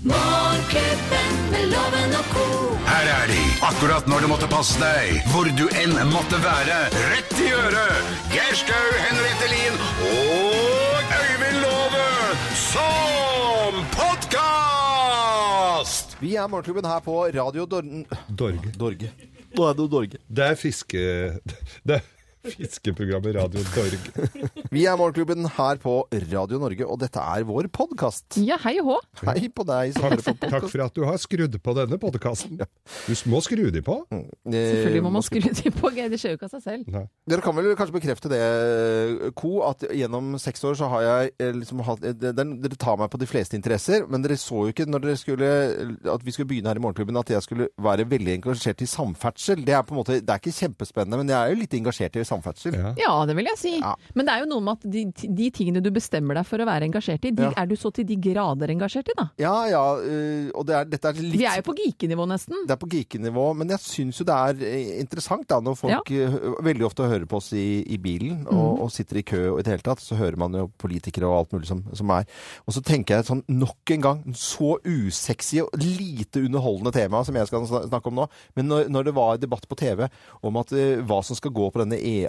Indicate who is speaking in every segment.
Speaker 1: Morgenklubben med loven og ko.
Speaker 2: Her er de, akkurat når du måtte passe deg, hvor du enn måtte være. Rett i øret! Geir Skau, Henriette Lien og Øyvind Låve som podkast!
Speaker 3: Vi er Morgenklubben her på Radio Dor
Speaker 4: Dorge.
Speaker 3: Dorge. Nå er det Dorge.
Speaker 4: Det er fiske... Det er fiskeprogrammet Radio Dorge.
Speaker 3: Vi er Morgenklubben her på Radio Norge, og dette er vår podkast.
Speaker 5: Ja, hei og hå.
Speaker 3: Hei på deg som hører
Speaker 4: Takk,
Speaker 3: på
Speaker 4: takk
Speaker 3: podkast.
Speaker 4: for at du har skrudd på denne podkasten. Du må skru de på.
Speaker 3: Eh,
Speaker 5: Selvfølgelig må man skru til på, Geir. Det skjer jo ikke av seg selv.
Speaker 4: Nei.
Speaker 3: Dere kan vel kanskje bekrefte det, Co, at gjennom seks år så har jeg eh, liksom hatt eh, den, Dere tar meg på de fleste interesser, men dere så jo ikke når dere skulle at vi skulle begynne her i Morgenklubben, at jeg skulle være veldig engasjert i samferdsel. Det er på en måte, det er ikke kjempespennende, men jeg er jo litt engasjert i samferdsel.
Speaker 4: Ja.
Speaker 5: Ja, det vil jeg si.
Speaker 3: Ja.
Speaker 5: Men det er jo noe med at de, de tingene du bestemmer deg for å være engasjert i, de
Speaker 3: Ja.
Speaker 5: er du så til de grader engasjert i, da.
Speaker 3: Ja, ja, eh, og det er, dette er litt
Speaker 5: Vi er jo på geekenivå nesten.
Speaker 3: Det er på geekenivå, men jeg syns jo det er eh, interessant da, når folk eh, veldig ofte hører på oss i, i bilen og, og sitter i kø og i det hele tatt, så hører man jo politikere og alt mulig som, som er. Og så tenker jeg sånn nok en gang, så usexy og lite underholdende tema som jeg skal sna- snakke om nå, men når, når det var debatt på TV om at eh, hva som skal gå på denne E18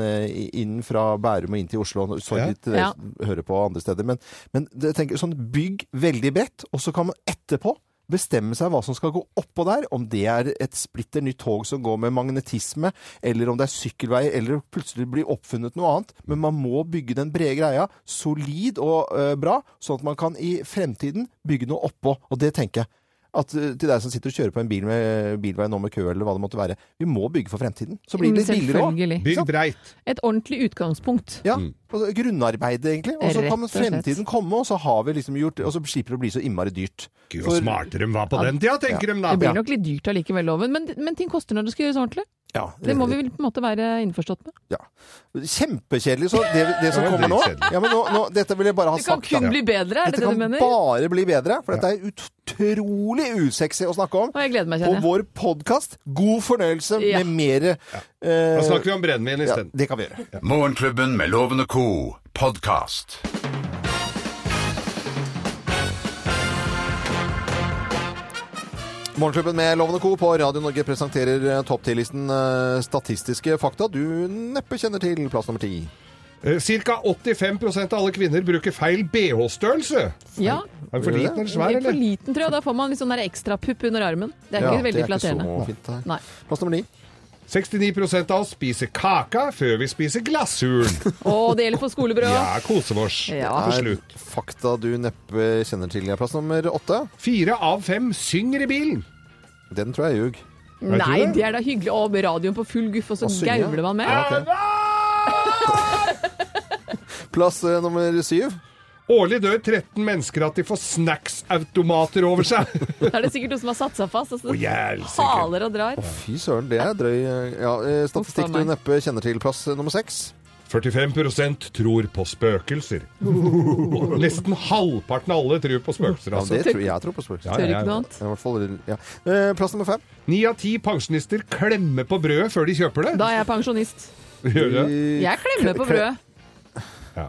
Speaker 3: eh, inn fra Bærum og inn til Oslo, og sorry
Speaker 4: Ja.
Speaker 3: til dere
Speaker 5: Ja.
Speaker 3: som hører på andre steder, men, men jeg tenker sånn bygg veldig bredt, og så kan man etterpå bestemme seg hva som skal gå oppå der, om det er et splitter nytt tog som går med magnetisme, eller om det er sykkelveier, eller plutselig blir oppfunnet noe annet. Men man må bygge den brede greia solid og eh, bra, sånn at man kan i fremtiden bygge noe oppå. Og det tenker jeg at eh, til deg som sitter og kjører på en bil med bilvei nå med kø, eller hva det måtte være, vi må bygge for fremtiden. Så blir det litt billigere òg.
Speaker 5: Selvfølgelig.
Speaker 4: Bygg breit.
Speaker 5: Et ordentlig utgangspunkt.
Speaker 3: Ja,
Speaker 4: Mm.
Speaker 3: altså grunnarbeidet egentlig. Og så
Speaker 5: Rett
Speaker 3: kan
Speaker 5: og slett.
Speaker 3: fremtiden komme, og så har vi liksom gjort Og så slipper det å bli så innmari dyrt.
Speaker 4: Gud, hvor
Speaker 3: For-
Speaker 4: smarte de var på den tida, tenker de
Speaker 5: Det
Speaker 4: da.
Speaker 5: blir nok litt dyrt allikevel, loven, men, men ting koster når det skal gjøres ordentlig.
Speaker 3: Ja,
Speaker 5: Det må vi vel på en måte være innforstått med.
Speaker 3: Eh, ja. Kjempekjedelig, så det, det som
Speaker 4: Ja, det er
Speaker 3: kommer nå,
Speaker 4: dritkjedelig.
Speaker 3: ja, men nå, nå Dette vil jeg bare ha
Speaker 5: Det kan
Speaker 3: sagt.
Speaker 5: kun
Speaker 3: da.
Speaker 5: bli bedre, er
Speaker 3: dette
Speaker 5: det det
Speaker 3: kan
Speaker 5: du mener?
Speaker 3: bare bli bedre, for dette er utrolig usexy å snakke om.
Speaker 5: Og jeg gleder meg,
Speaker 3: På
Speaker 5: kjenner jeg.
Speaker 3: vår podkast, god fornøyelse
Speaker 5: Ja.
Speaker 3: med mere eh,
Speaker 4: Da snakker vi om brennevin
Speaker 3: ja,
Speaker 4: isteden.
Speaker 3: Det kan vi gjøre.
Speaker 2: Morgenklubben med Loven og Co. podkast.
Speaker 3: Morgenklubben med Lovende Co. på Radio Norge presenterer eh, topp 10-listen eh, statistiske fakta du neppe kjenner til. Plass nummer ti.
Speaker 4: Ca. 85 av alle kvinner bruker feil BH-størrelse.
Speaker 5: Ja.
Speaker 4: Er den for liten eller svær,
Speaker 5: For
Speaker 4: eller?
Speaker 5: liten, tror jeg. Da får man litt sånn der ekstrapupp under armen. Det er
Speaker 3: Ja,
Speaker 5: ikke veldig
Speaker 3: det er ikke
Speaker 5: flatterende.
Speaker 3: så fint, det her.
Speaker 5: Nei.
Speaker 3: Plass nummer ni.
Speaker 4: 69 av oss spiser kaka før vi spiser glasshorn.
Speaker 5: Og det gjelder for skolebrød.
Speaker 4: Ja, kosevors.
Speaker 5: Ja.
Speaker 4: Til slutt.
Speaker 3: Er fakta du neppe kjenner til. Ja, Plass nummer åtte.
Speaker 4: Fire av fem synger i bilen.
Speaker 3: Den tror jeg ljug.
Speaker 4: du
Speaker 5: Nei,
Speaker 4: det?
Speaker 5: det er da hyggelig. Og med radioen på full guff, og så
Speaker 3: Og synge.
Speaker 5: gauvler man med.
Speaker 3: Ja, ok. Plass eh, nummer syv.
Speaker 4: Årlig dør 13 mennesker at de får snacksautomater over seg.
Speaker 5: Da er det sikkert noen som har satt seg fast. Altså,
Speaker 4: Å, jævlig sikkert.
Speaker 5: haler og drar.
Speaker 3: Fy søren, det er drøy eh, ja, eh, statistikk
Speaker 5: Uff,
Speaker 3: du
Speaker 5: faen meg.
Speaker 3: neppe kjenner til. Plass eh, nummer seks.
Speaker 4: 45 tror på spøkelser. Nesten halvparten av alle tror på spøkelser.
Speaker 3: Ja,
Speaker 4: Altså.
Speaker 3: det tror jeg tror på spørsmål.
Speaker 4: Ja,
Speaker 5: Tør
Speaker 4: ja,
Speaker 5: ikke
Speaker 4: ja.
Speaker 5: noe annet.
Speaker 3: I hvert fall, ja. Eh, Plass nummer fem.
Speaker 4: Ni av ti pensjonister klemmer på brødet før de kjøper det.
Speaker 5: Da Mm. er jeg pensjonist.
Speaker 4: Gjør de det?
Speaker 3: I,
Speaker 5: Jeg klemmer på brødet.
Speaker 4: Ja.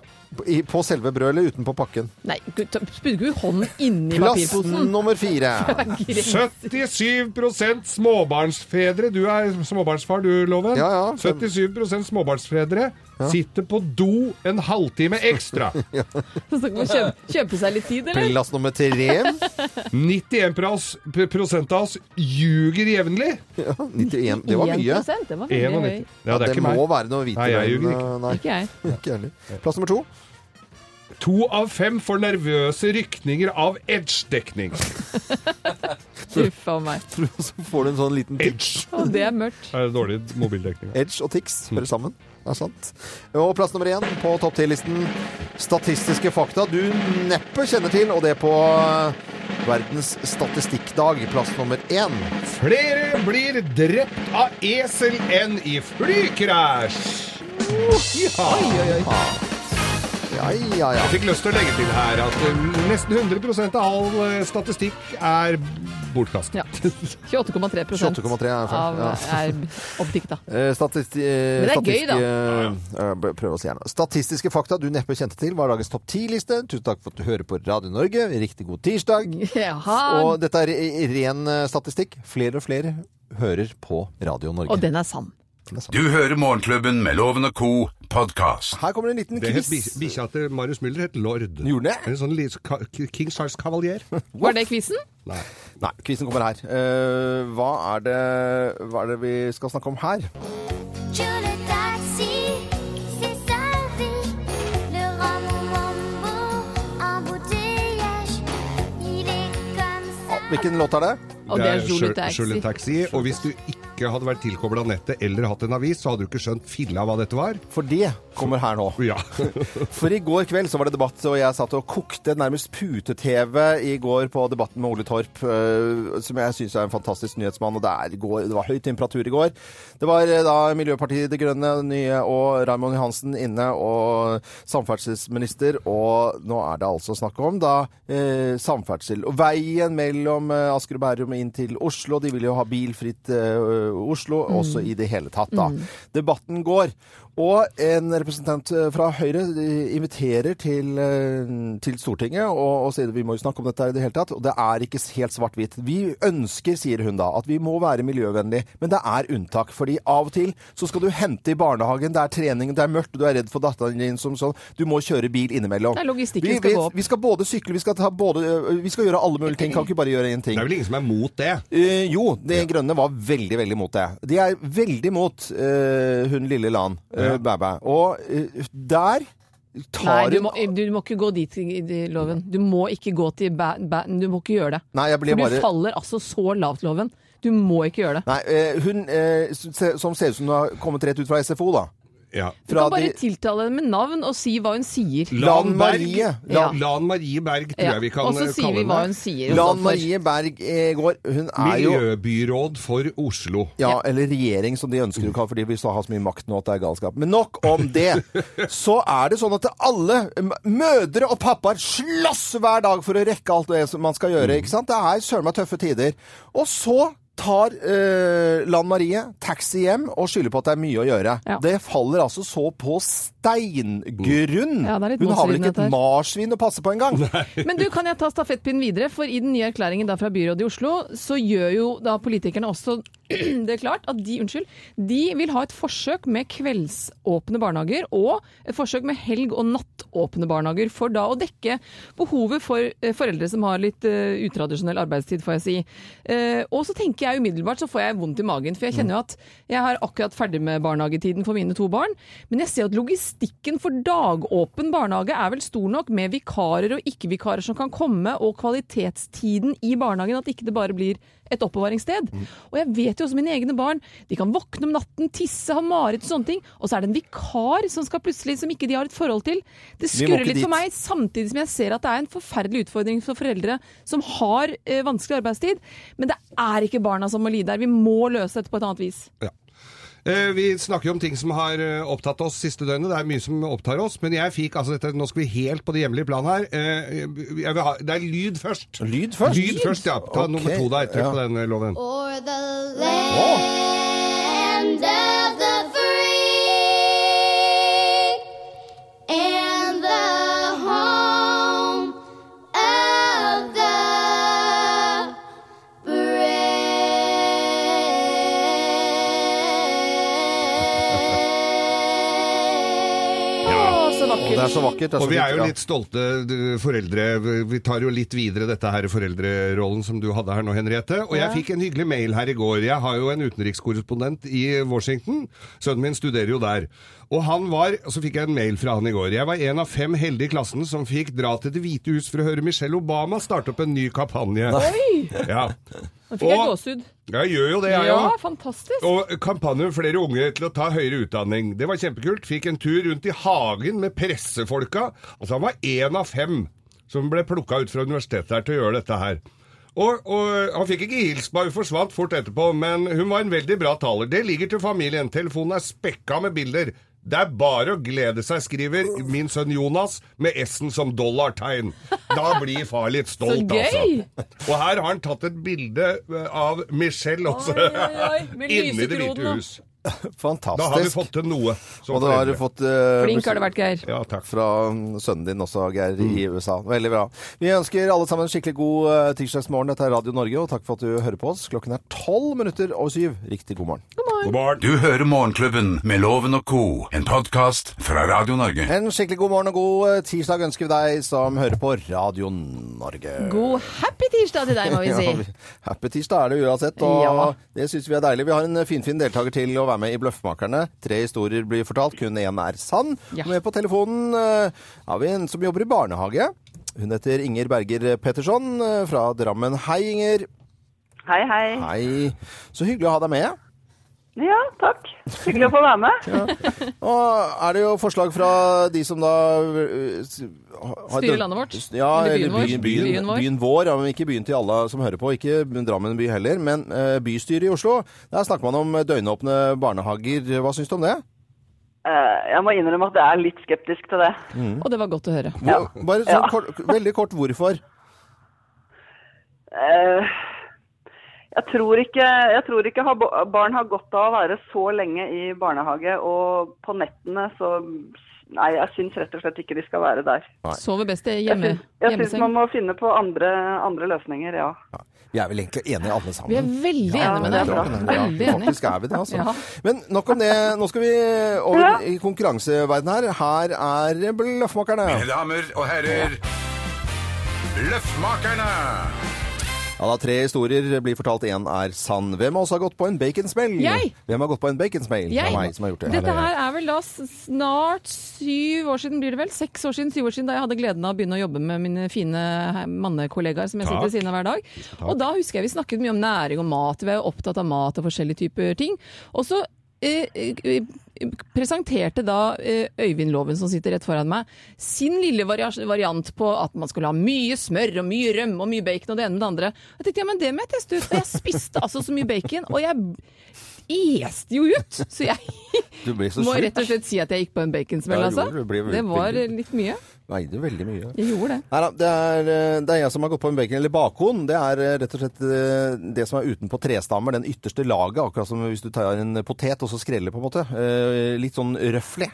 Speaker 3: i, på selve brødet eller utenpå pakken?
Speaker 5: Nei, gud, ta- spydde ikke du hånden inni
Speaker 3: Plass
Speaker 5: papirposen?
Speaker 3: nummer fire.
Speaker 5: Greit.
Speaker 4: 77 småbarnsfedre Du er småbarnsfar, du, Loven.
Speaker 3: Ja, ja.
Speaker 4: 77 småbarnsfedre sitter på do en halvtime ekstra.
Speaker 5: Så skal man kjøpe, kjøpe seg litt tid, eller?
Speaker 3: Plass nummer tre.
Speaker 4: 91 pros- pr- prosent av oss ljuger jevnlig.
Speaker 3: 91. Det var mye.
Speaker 5: 1%, det var veldig
Speaker 4: 91.
Speaker 5: høy.
Speaker 4: Ja, det er
Speaker 3: det
Speaker 4: ikke meg.
Speaker 3: må være noe hvit
Speaker 4: Nei, jeg ljuger
Speaker 3: løgn, Nei,
Speaker 5: Ikke jeg.
Speaker 3: ikke jeg heller. Plass nummer to.
Speaker 4: To av fem får nervøse rykninger av edge-dekning.
Speaker 5: Uff a meg.
Speaker 3: Så får du en sånn liten
Speaker 4: Edge
Speaker 5: Å, det er mørkt.
Speaker 4: er dårlig mobildekning.
Speaker 3: Edge og Tix
Speaker 4: Hmm.
Speaker 3: hører sammen. Det er sant. Og plass nummer én på topp 10-listen statistiske fakta du neppe kjenner til, og det på eh, verdens statistikkdag. Plass nummer én.
Speaker 4: Flere blir drept av esel enn i flykrasj! Ja.
Speaker 3: Ah. Ja, ja, ja.
Speaker 4: Jeg fikk lyst til å legge til her at eh, nesten 100 av all eh, statistikk er bortkastet.
Speaker 5: Ja. 28,3
Speaker 3: 28,3 er feil,
Speaker 5: av
Speaker 3: ja.
Speaker 5: er oppdikta.
Speaker 3: Eh, Statist, eh,
Speaker 5: Men det er
Speaker 3: statistiske,
Speaker 5: gøy, da.
Speaker 3: eh, eh, prøv oss gjerne. Statistiske fakta du neppe kjente til, var dagens topp ti-liste. Tusen takk for at du hører på Radio Norge. Riktig god tirsdag.
Speaker 5: Jaha.
Speaker 3: Og
Speaker 5: Og,
Speaker 3: dette er i- i ren eh, statistikk. Flere og flere hører på Radio Norge.
Speaker 5: den er sann.
Speaker 2: Du hører Morgenklubben med Loven og Co. podkast.
Speaker 3: Her kommer en liten
Speaker 4: Det het
Speaker 3: quiz.
Speaker 4: bi- bikkja til Marius Müller het Lord.
Speaker 3: Gjorde det?
Speaker 4: En sånn li- ka- King Charles Cavalier.
Speaker 5: Var det quizen?
Speaker 4: Nei.
Speaker 3: Nei, quizen kommer her. Eh, hva, er det, hva er det vi skal snakke om her?
Speaker 6: Je le taxi, c'est sa vie. Le rambo, un bouteillage. Il est comme ça.
Speaker 3: Hvilken låt er det?
Speaker 5: Og det er Jolly
Speaker 4: Sjø- Sjøle
Speaker 5: Taxi.
Speaker 4: Taxi. Og hvis du ikke hadde vært tilkobla nettet eller hatt en avis, så hadde du ikke skjønt filla hva dette var.
Speaker 3: For det kommer her nå.
Speaker 4: Ja.
Speaker 3: For i går kveld så var det debatt, og jeg satt og kokte nærmest pute-TV i går på Debatten med Ole Torp, øh, som jeg syns er en fantastisk nyhetsmann. Og det, er i går, det var høy temperatur i går. Det var eh, da Miljøpartiet De Grønne nye og Raymond Johansen inne, og samferdselsminister. Og nå er det altså snakk om da eh, samferdsel. Og veien mellom eh, Asker og Bærum inn til Oslo. De vil jo ha bilfritt eh, Oslo
Speaker 5: Mm.
Speaker 3: også i det hele tatt, da. Debatten går. Og en representant eh, fra Høyre eh, inviterer til, eh, til Stortinget og, og sier at vi må jo snakke om dette her i det hele tatt. Og det er ikke helt svart-hvitt. Vi ønsker, sier hun da, at vi må være miljøvennlige, men det er unntak. fordi av og til så skal du hente i barnehagen, det er trening, det er mørkt, og du er redd for datteren din som sånn. Du må kjøre bil innimellom.
Speaker 5: Det er logistikken
Speaker 3: vi,
Speaker 5: skal
Speaker 3: vi,
Speaker 5: gå opp.
Speaker 3: Vi skal både sykle, vi skal, ta både, ø, vi skal gjøre alle mulige ting. Kan ikke bare gjøre én ting.
Speaker 4: Det er vel ingen som er mot det.
Speaker 3: Eh, jo, De Grønne var veldig, veldig mot det. De er veldig mot eh, hun lille Lan, eh, Bæbæ. Og eh, der
Speaker 5: Nei,
Speaker 3: tar
Speaker 5: du
Speaker 3: hun
Speaker 5: må, du må ikke gå dit, i- i Loven. Du må ikke gå til bæ... bæ du må ikke gjøre det.
Speaker 3: Nei, jeg ble
Speaker 5: For du
Speaker 3: bare
Speaker 5: faller altså så lavt, Loven. Du må ikke gjøre det.
Speaker 3: Nei, eh, hun eh, s- se- som ser ut som hun har kommet rett ut fra SFO, da.
Speaker 4: Ja.
Speaker 5: Du
Speaker 3: Fra
Speaker 5: kan bare
Speaker 3: de-
Speaker 5: tiltale henne med navn og si hva hun sier.
Speaker 3: Lan Marie.
Speaker 5: Ja.
Speaker 4: Lan, Lan Marie Berg tror
Speaker 5: Ja.
Speaker 4: jeg vi kan
Speaker 5: Og så
Speaker 4: eh,
Speaker 5: sier
Speaker 4: kalle
Speaker 5: vi hva hun
Speaker 4: henne.
Speaker 5: sier. og
Speaker 3: Lan
Speaker 5: sånt.
Speaker 3: Marie Berg eh, går Hun er jo
Speaker 4: Miljøbyråd for Oslo.
Speaker 3: Ja, eller regjering, som de ønsker å kalle fordi vi så har så mye makt nå at det er galskap. Men nok om det. Så er det sånn at alle m- mødre og pappaer slåss hver dag for å rekke alt det som man skal
Speaker 5: Mm.
Speaker 3: gjøre. ikke sant? Det er søren meg tøffe tider. Og så tar eh, Lan Marie taxi hjem og skylder på at det er mye å gjøre.
Speaker 5: Ja.
Speaker 3: Det faller altså så på steingrunn.
Speaker 5: Mm. Ja, det er litt
Speaker 3: Hun har vel ikke et
Speaker 5: motstridende, dette her.
Speaker 3: marsvin å passe på engang?
Speaker 5: Men du, kan jeg ta stafettpinnen videre? For i den nye erklæringen da fra byrådet i Oslo, så gjør jo da politikerne også det klart at de, unnskyld, de vil ha et forsøk med kveldsåpne barnehager og et forsøk med helg- og nattåpne barnehager, for da å dekke behovet for eh, foreldre som har litt eh, utradisjonell arbeidstid, får jeg si. Eh, og så tenker jeg umiddelbart, så får jeg vondt i magen, for jeg kjenner jo at jeg er akkurat ferdig med barnehagetiden for mine to barn, men jeg ser at logistikken for dagåpen barnehage er vel stor nok med vikarer og ikke-vikarer som kan komme, og kvalitetstiden i barnehagen, at ikke det bare blir et oppbevaringssted.
Speaker 3: Mm.
Speaker 5: Og jeg vet jo også mine egne barn, de kan våkne om natten, tisse, ha mareritt og sånne ting, og så er det en vikar som skal plutselig, som ikke de har et forhold til.
Speaker 3: Vi
Speaker 5: Det
Speaker 3: må
Speaker 5: skurrer
Speaker 3: ikke
Speaker 5: litt for
Speaker 3: dit.
Speaker 5: meg, samtidig som jeg ser at det er en forferdelig utfordring for foreldre som har eh, vanskelig arbeidstid, men det er ikke barna som må lide her. Vi må løse dette på et annet vis.
Speaker 4: Ja. Eh, Vi snakker jo om ting som har eh, opptatt oss siste døgnet. Det er mye som opptar oss. Men jeg fikk altså dette Nå skal vi helt på det hjemlige plan her. Eh, Jeg vil ha, det er lyd først.
Speaker 3: Lyd først?
Speaker 4: Lyd først, ja. Ta
Speaker 3: Ok,
Speaker 4: nummer to der. Trykk
Speaker 3: ja.
Speaker 4: på den eh, loven.
Speaker 6: Or the land of the free and the home of the brave.
Speaker 5: Å, så
Speaker 3: Å, det er så
Speaker 5: vakkert.
Speaker 3: vakkert. Det er så
Speaker 4: Og vi er jo
Speaker 3: fint, ja.
Speaker 4: litt stolte du, foreldre. Vi- Vi tar jo litt videre dette her foreldrerollen som du hadde her nå, Henriette. Og jeg fikk en hyggelig mail her i går. Jeg har jo en utenrikskorrespondent i Washington. Sønnen min studerer jo der. Og han var, og så fikk jeg en mail fra han i går. Jeg var en av fem heldige i klassen som fikk dra til Det hvite hus for å høre Michelle Obama starte opp en ny kampanje. Ja.
Speaker 5: Nå fikk jeg
Speaker 4: Og-
Speaker 5: gåsehud.
Speaker 4: Jeg gjør jo det, jeg
Speaker 5: Ja,
Speaker 4: òg.
Speaker 5: fantastisk.
Speaker 4: Og kampanjen for flere unge til å ta høyere utdanning. Det var kjempekult. Fikk en tur rundt i hagen med pressefolka. Altså han var én av fem som ble plukka ut fra universitetet her til å gjøre dette her. Og, og Han fikk ikke hilst på, hun forsvant fort etterpå, men hun var en veldig bra taler. Det ligger til familien. Telefonen er spekka med bilder. Det er bare å glede seg, skriver min sønn Jonas, med S-en som dollartegn. Da blir far litt
Speaker 5: Så
Speaker 4: stolt,
Speaker 5: gøy!
Speaker 4: altså. Og her har han tatt et bilde eh, av Michelle også.
Speaker 5: Oi, oi, oi, med
Speaker 4: Inni Det
Speaker 5: lysekronen
Speaker 4: hvite
Speaker 5: og-
Speaker 4: hus.
Speaker 3: Fantastisk.
Speaker 4: Da har vi fått til noe. som
Speaker 3: Og da har du
Speaker 4: foreldre.
Speaker 3: fått eh,
Speaker 5: Flink har det vært, Geir.
Speaker 4: Ja, takk.
Speaker 3: fra mm, sønnen din også, Geir, i USA. Veldig bra. Vi ønsker alle sammen en skikkelig god eh, tirsdagsmorgen. Dette er Radio Norge, og takk for at du hører på oss. Klokken er tolv minutter over syv. Riktig god morgen.
Speaker 4: God morgen.
Speaker 2: Du hører Morgenklubben med Loven og Co., en podkast fra Radio Norge.
Speaker 3: En skikkelig god morgen og god eh, tirsdag ønsker vi deg som hører på Radio Norge.
Speaker 5: God happy tirsdag til deg, må vi
Speaker 3: Ja,
Speaker 5: si.
Speaker 3: vi- happy tirsdag er det uansett, og
Speaker 5: Ja.
Speaker 3: det syns vi er deilig. Vi har en finfin fin deltaker til å være med i Bløffmakerne. Tre historier blir fortalt, kun én er sann.
Speaker 5: Ja.
Speaker 3: Og med på telefonen eh, har vi en som jobber i barnehage. Hun heter Inger Berger Petterson eh, fra Drammen. Hei, Inger.
Speaker 7: Hei, hei.
Speaker 3: Hei. Så hyggelig å ha deg med.
Speaker 7: Ja, takk. Hyggelig å få være med.
Speaker 3: Og er det jo forslag fra de som da øh, s- har-
Speaker 5: Styrer landet vårt?
Speaker 3: Ja,
Speaker 5: Eller
Speaker 3: eller byen,
Speaker 5: byen
Speaker 3: byen,
Speaker 5: vår? Byen
Speaker 3: vår.
Speaker 5: vår.
Speaker 3: Byen vår ja, men ikke byen til alle som hører på, ikke Drammen by heller. Men øh, bystyret i Oslo, der snakker man om døgnåpne barnehager. Hva syns du om det?
Speaker 7: Eh, Jeg må innrømme at jeg er litt skeptisk til det.
Speaker 5: Og det var godt å høre.
Speaker 3: Hvor, bare sånn
Speaker 7: Ja.
Speaker 3: kort, veldig kort hvorfor.
Speaker 7: Eh, Jeg tror ikke, jeg tror ikke har- barn har godt av å være så lenge i barnehage, og på nettene så Nei, jeg syns rett og slett ikke de skal være der.
Speaker 5: Sover best i
Speaker 7: Jeg
Speaker 5: hjemme,
Speaker 7: syns- Jeg syns man
Speaker 5: hjemmeseng.
Speaker 7: må finne på andre, andre løsninger, ja.
Speaker 3: Vi er vel egentlig enige alle sammen.
Speaker 5: Vi er veldig
Speaker 7: Ja,
Speaker 5: enige med
Speaker 7: det er
Speaker 5: deg.
Speaker 7: bra.
Speaker 5: Veldig
Speaker 3: Ja,
Speaker 5: enige.
Speaker 3: faktisk er vi det, altså.
Speaker 5: Ja.
Speaker 3: Men nok om det. Nå skal vi over i konkurranseverdenen her. Her er Bløffmakerne.
Speaker 2: Mine damer og herrer, Løffmakerne!
Speaker 3: Ja, da tre historier blir fortalt, én er sann. Hvem av oss har gått på en baconsmell?
Speaker 5: Jeg!
Speaker 3: Hvem har gått på en baconsmell? Det er
Speaker 5: Jeg,
Speaker 3: meg som har gjort det.
Speaker 5: dette her er vel da snart syv år siden, blir det vel? Seks år siden, syv år siden, da jeg hadde gleden av å begynne å jobbe med mine fine he- mannekollegaer som jeg sitter ved siden av hver dag. Og da husker jeg vi snakket mye om næring og mat, vi er jo opptatt av mat og forskjellige typer ting. Og så eh, eh, presenterte da eh, Øyvind Loven, som sitter rett foran meg, sin lille varias- variant på at man skulle ha mye smør og mye rømme og mye bacon og det ene med det andre. Jeg tenkte, ja, men det må jeg teste ut. Og jeg spiste altså så mye bacon, og jeg este jo ut. Så jeg
Speaker 3: Du blir så
Speaker 5: må
Speaker 3: sjuk.
Speaker 5: rett og slett si at jeg gikk på en baconsmell,
Speaker 3: Ja,
Speaker 5: altså.
Speaker 3: gjorde du, det ble
Speaker 5: Det var
Speaker 3: veldig-
Speaker 5: litt mye.
Speaker 3: Veide veldig mye.
Speaker 5: Jeg gjorde det.
Speaker 3: Nei da, det er, eh, det er jeg som har gått på en bacon eller bakhånd. Det er eh, rett og slett eh, det som er utenpå trestammer, den ytterste laget, akkurat som hvis du tar en potet og så skreller på en måte. Eh, Litt sånn røfflig.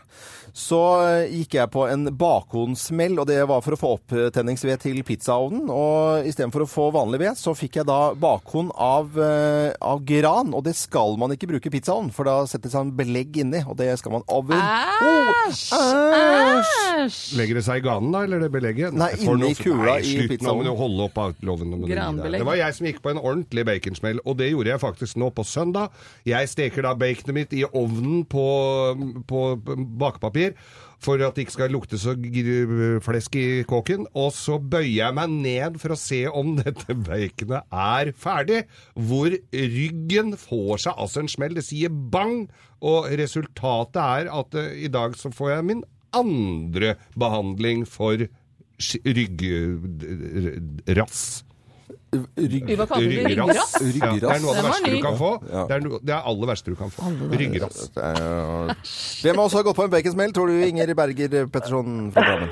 Speaker 3: Så eh, gikk jeg på en bakhåndsmell, og det var for å få opptenningsved til pizzaovnen. Og istedenfor å få vanlig ved, så fikk jeg da bakhånd av, eh, av gran, og det skal man ikke bruke i pizzaovn, for da setter det seg en belegg inni, og det skal man over...
Speaker 5: Æsj! Æsj!
Speaker 4: Legger det seg i ganen, da, eller det belegget?
Speaker 3: Nei,
Speaker 4: for
Speaker 3: inni
Speaker 4: noe-
Speaker 3: kula
Speaker 4: Nei,
Speaker 3: i
Speaker 4: slutt, Nå
Speaker 3: pizzaovnen.
Speaker 4: må du holde opp av loven. nå må du gi deg.
Speaker 5: Granbelegg.
Speaker 4: Det var jeg som gikk på en ordentlig baconsmell, og det gjorde jeg faktisk nå på søndag. Jeg steker da baconet mitt i ovnen på, på bakepapir. For at det ikke skal lukte så gr- flesk i kåken. Og så bøyer jeg meg ned for å se om dette baconet er ferdig. Hvor ryggen får seg altså en smell. Det sier bang! Og resultatet er at eh, i dag så får jeg min andre behandling for sk- ryggrass.
Speaker 3: Rygg...
Speaker 5: Vi var kalt for ryggrass.
Speaker 4: Ja, det er noe av det
Speaker 5: Den var
Speaker 4: verste du
Speaker 5: ny.
Speaker 4: kan få.
Speaker 3: Ja.
Speaker 4: Det er, no, det er aller verste du kan få. Ryggrass.
Speaker 3: Det er jo- Hvem av oss har gått på en baconsmell, tror du, Inger Berger Petterson fra Drammen?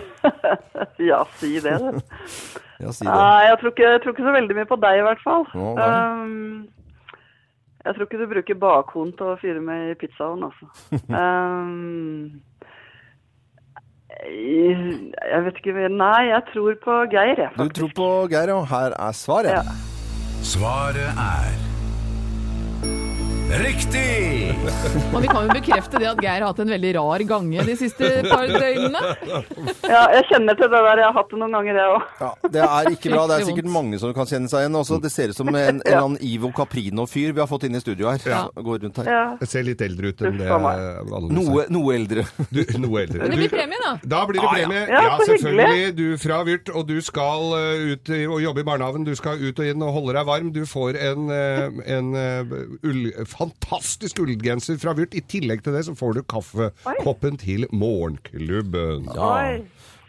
Speaker 7: Ja, si det, du.
Speaker 3: Ja, si det.
Speaker 7: Nei, jeg tror, ikke, jeg tror ikke så veldig mye på deg i hvert fall.
Speaker 3: Å, hva er
Speaker 7: Ehm, jeg tror ikke du bruker bakhånd til å fyre med i pizzaen, altså. Ehm, jeg, jeg vet ikke mer- Nei, jeg tror på Geir, jeg,
Speaker 3: Du
Speaker 7: faktisk.
Speaker 3: tror på Geir, og her er svaret.
Speaker 7: Ja.
Speaker 2: Svaret er Riktig!
Speaker 5: Og vi kan jo bekrefte det at Geir har hatt en veldig rar gange de siste par døgnene.
Speaker 7: Ja, jeg kjenner til det der. Jeg har hatt det noen ganger, jeg òg.
Speaker 3: Ja, det er ikke bra. Det er
Speaker 5: Fryktelig
Speaker 3: sikkert
Speaker 5: vondt.
Speaker 3: mange som kan kjenne seg igjen. Også, det ser ut som en, en eller annen Ivo Caprino-fyr vi har fått inn i studio her.
Speaker 5: Ja.
Speaker 3: som Går rundt her.
Speaker 7: Ja.
Speaker 4: Jeg ser litt eldre ut enn det
Speaker 7: Uff a meg.
Speaker 4: eh, vanligvis er.
Speaker 3: Noe, noe eldre.
Speaker 4: Du, noe eldre.
Speaker 5: Men det blir
Speaker 4: Du-
Speaker 5: premie, da.
Speaker 4: Da blir det premie.
Speaker 7: Ja, så
Speaker 4: selvfølgelig. Du fra Vyrt, og du skal eh, ut i- og jobbe i barnehagen. Du skal ut og inn og holde deg varm. Du får en, eh, en eh, ull, fantastisk ullgenser fra Vyrt. I tillegg til det så får du kaffekoppen til morgenklubben.
Speaker 3: Ah.
Speaker 7: Oi.